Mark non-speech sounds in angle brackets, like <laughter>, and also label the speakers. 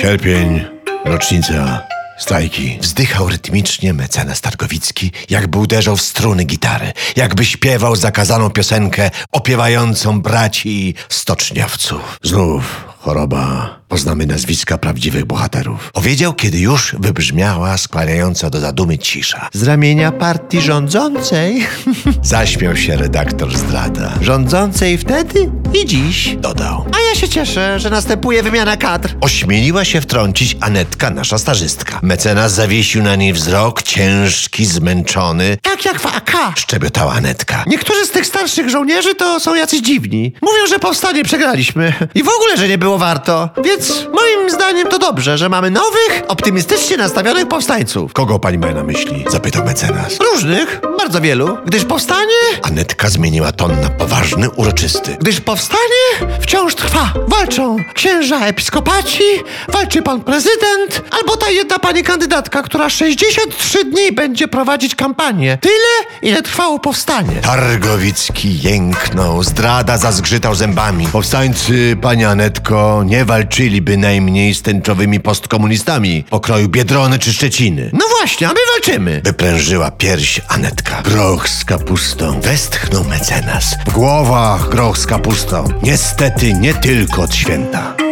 Speaker 1: Sierpień, rocznica, stajki.
Speaker 2: Wzdychał rytmicznie mecenas Targowicki, jakby uderzał w struny gitary, jakby śpiewał zakazaną piosenkę opiewającą braci i stoczniowców.
Speaker 1: Znów choroba.
Speaker 2: Poznamy nazwiska prawdziwych bohaterów. Powiedział, kiedy już wybrzmiała skłaniająca do zadumy cisza. Z ramienia partii rządzącej <laughs> zaśmiał się redaktor zdrada. Rządzącej wtedy i dziś, dodał. A ja się cieszę, że następuje wymiana kadr. Ośmieliła się wtrącić Anetka, nasza starzystka. Mecenas zawiesił na niej wzrok, ciężki, zmęczony. Tak jak w AK, szczebiotała Anetka. Niektórzy z tych starszych żołnierzy to są jacyś dziwni. Mówią, że powstanie przegraliśmy i w ogóle, że nie było warto. Więc moim zdaniem to dobrze, że mamy nowych, optymistycznie nastawionych powstańców.
Speaker 1: Kogo pani ma na myśli? Zapytał mecenas.
Speaker 2: Różnych, bardzo wielu, gdyż powstanie
Speaker 1: Anetka zmieniła ton na poważny, uroczysty.
Speaker 2: gdyż powstanie wciąż trwa. Walczą księża episkopaci, walczy pan prezydent, albo ta jedna pani kandydatka, która 63 dni będzie prowadzić kampanię. Tyle, ile trwało powstanie.
Speaker 1: Targowicki jęknął, zdrada zazgrzytał zębami. Powstańcy, pani Anetko, nie walczyliby najmniej z tęczowymi postkomunistami pokroju Biedrony czy Szczeciny.
Speaker 2: No właśnie, a my walczymy.
Speaker 1: Wyprężyła pierś Anetka. Groch z kapustą. Westchnął mecenas. W głowach groch z kapustą. Niestety nie tylko od święta.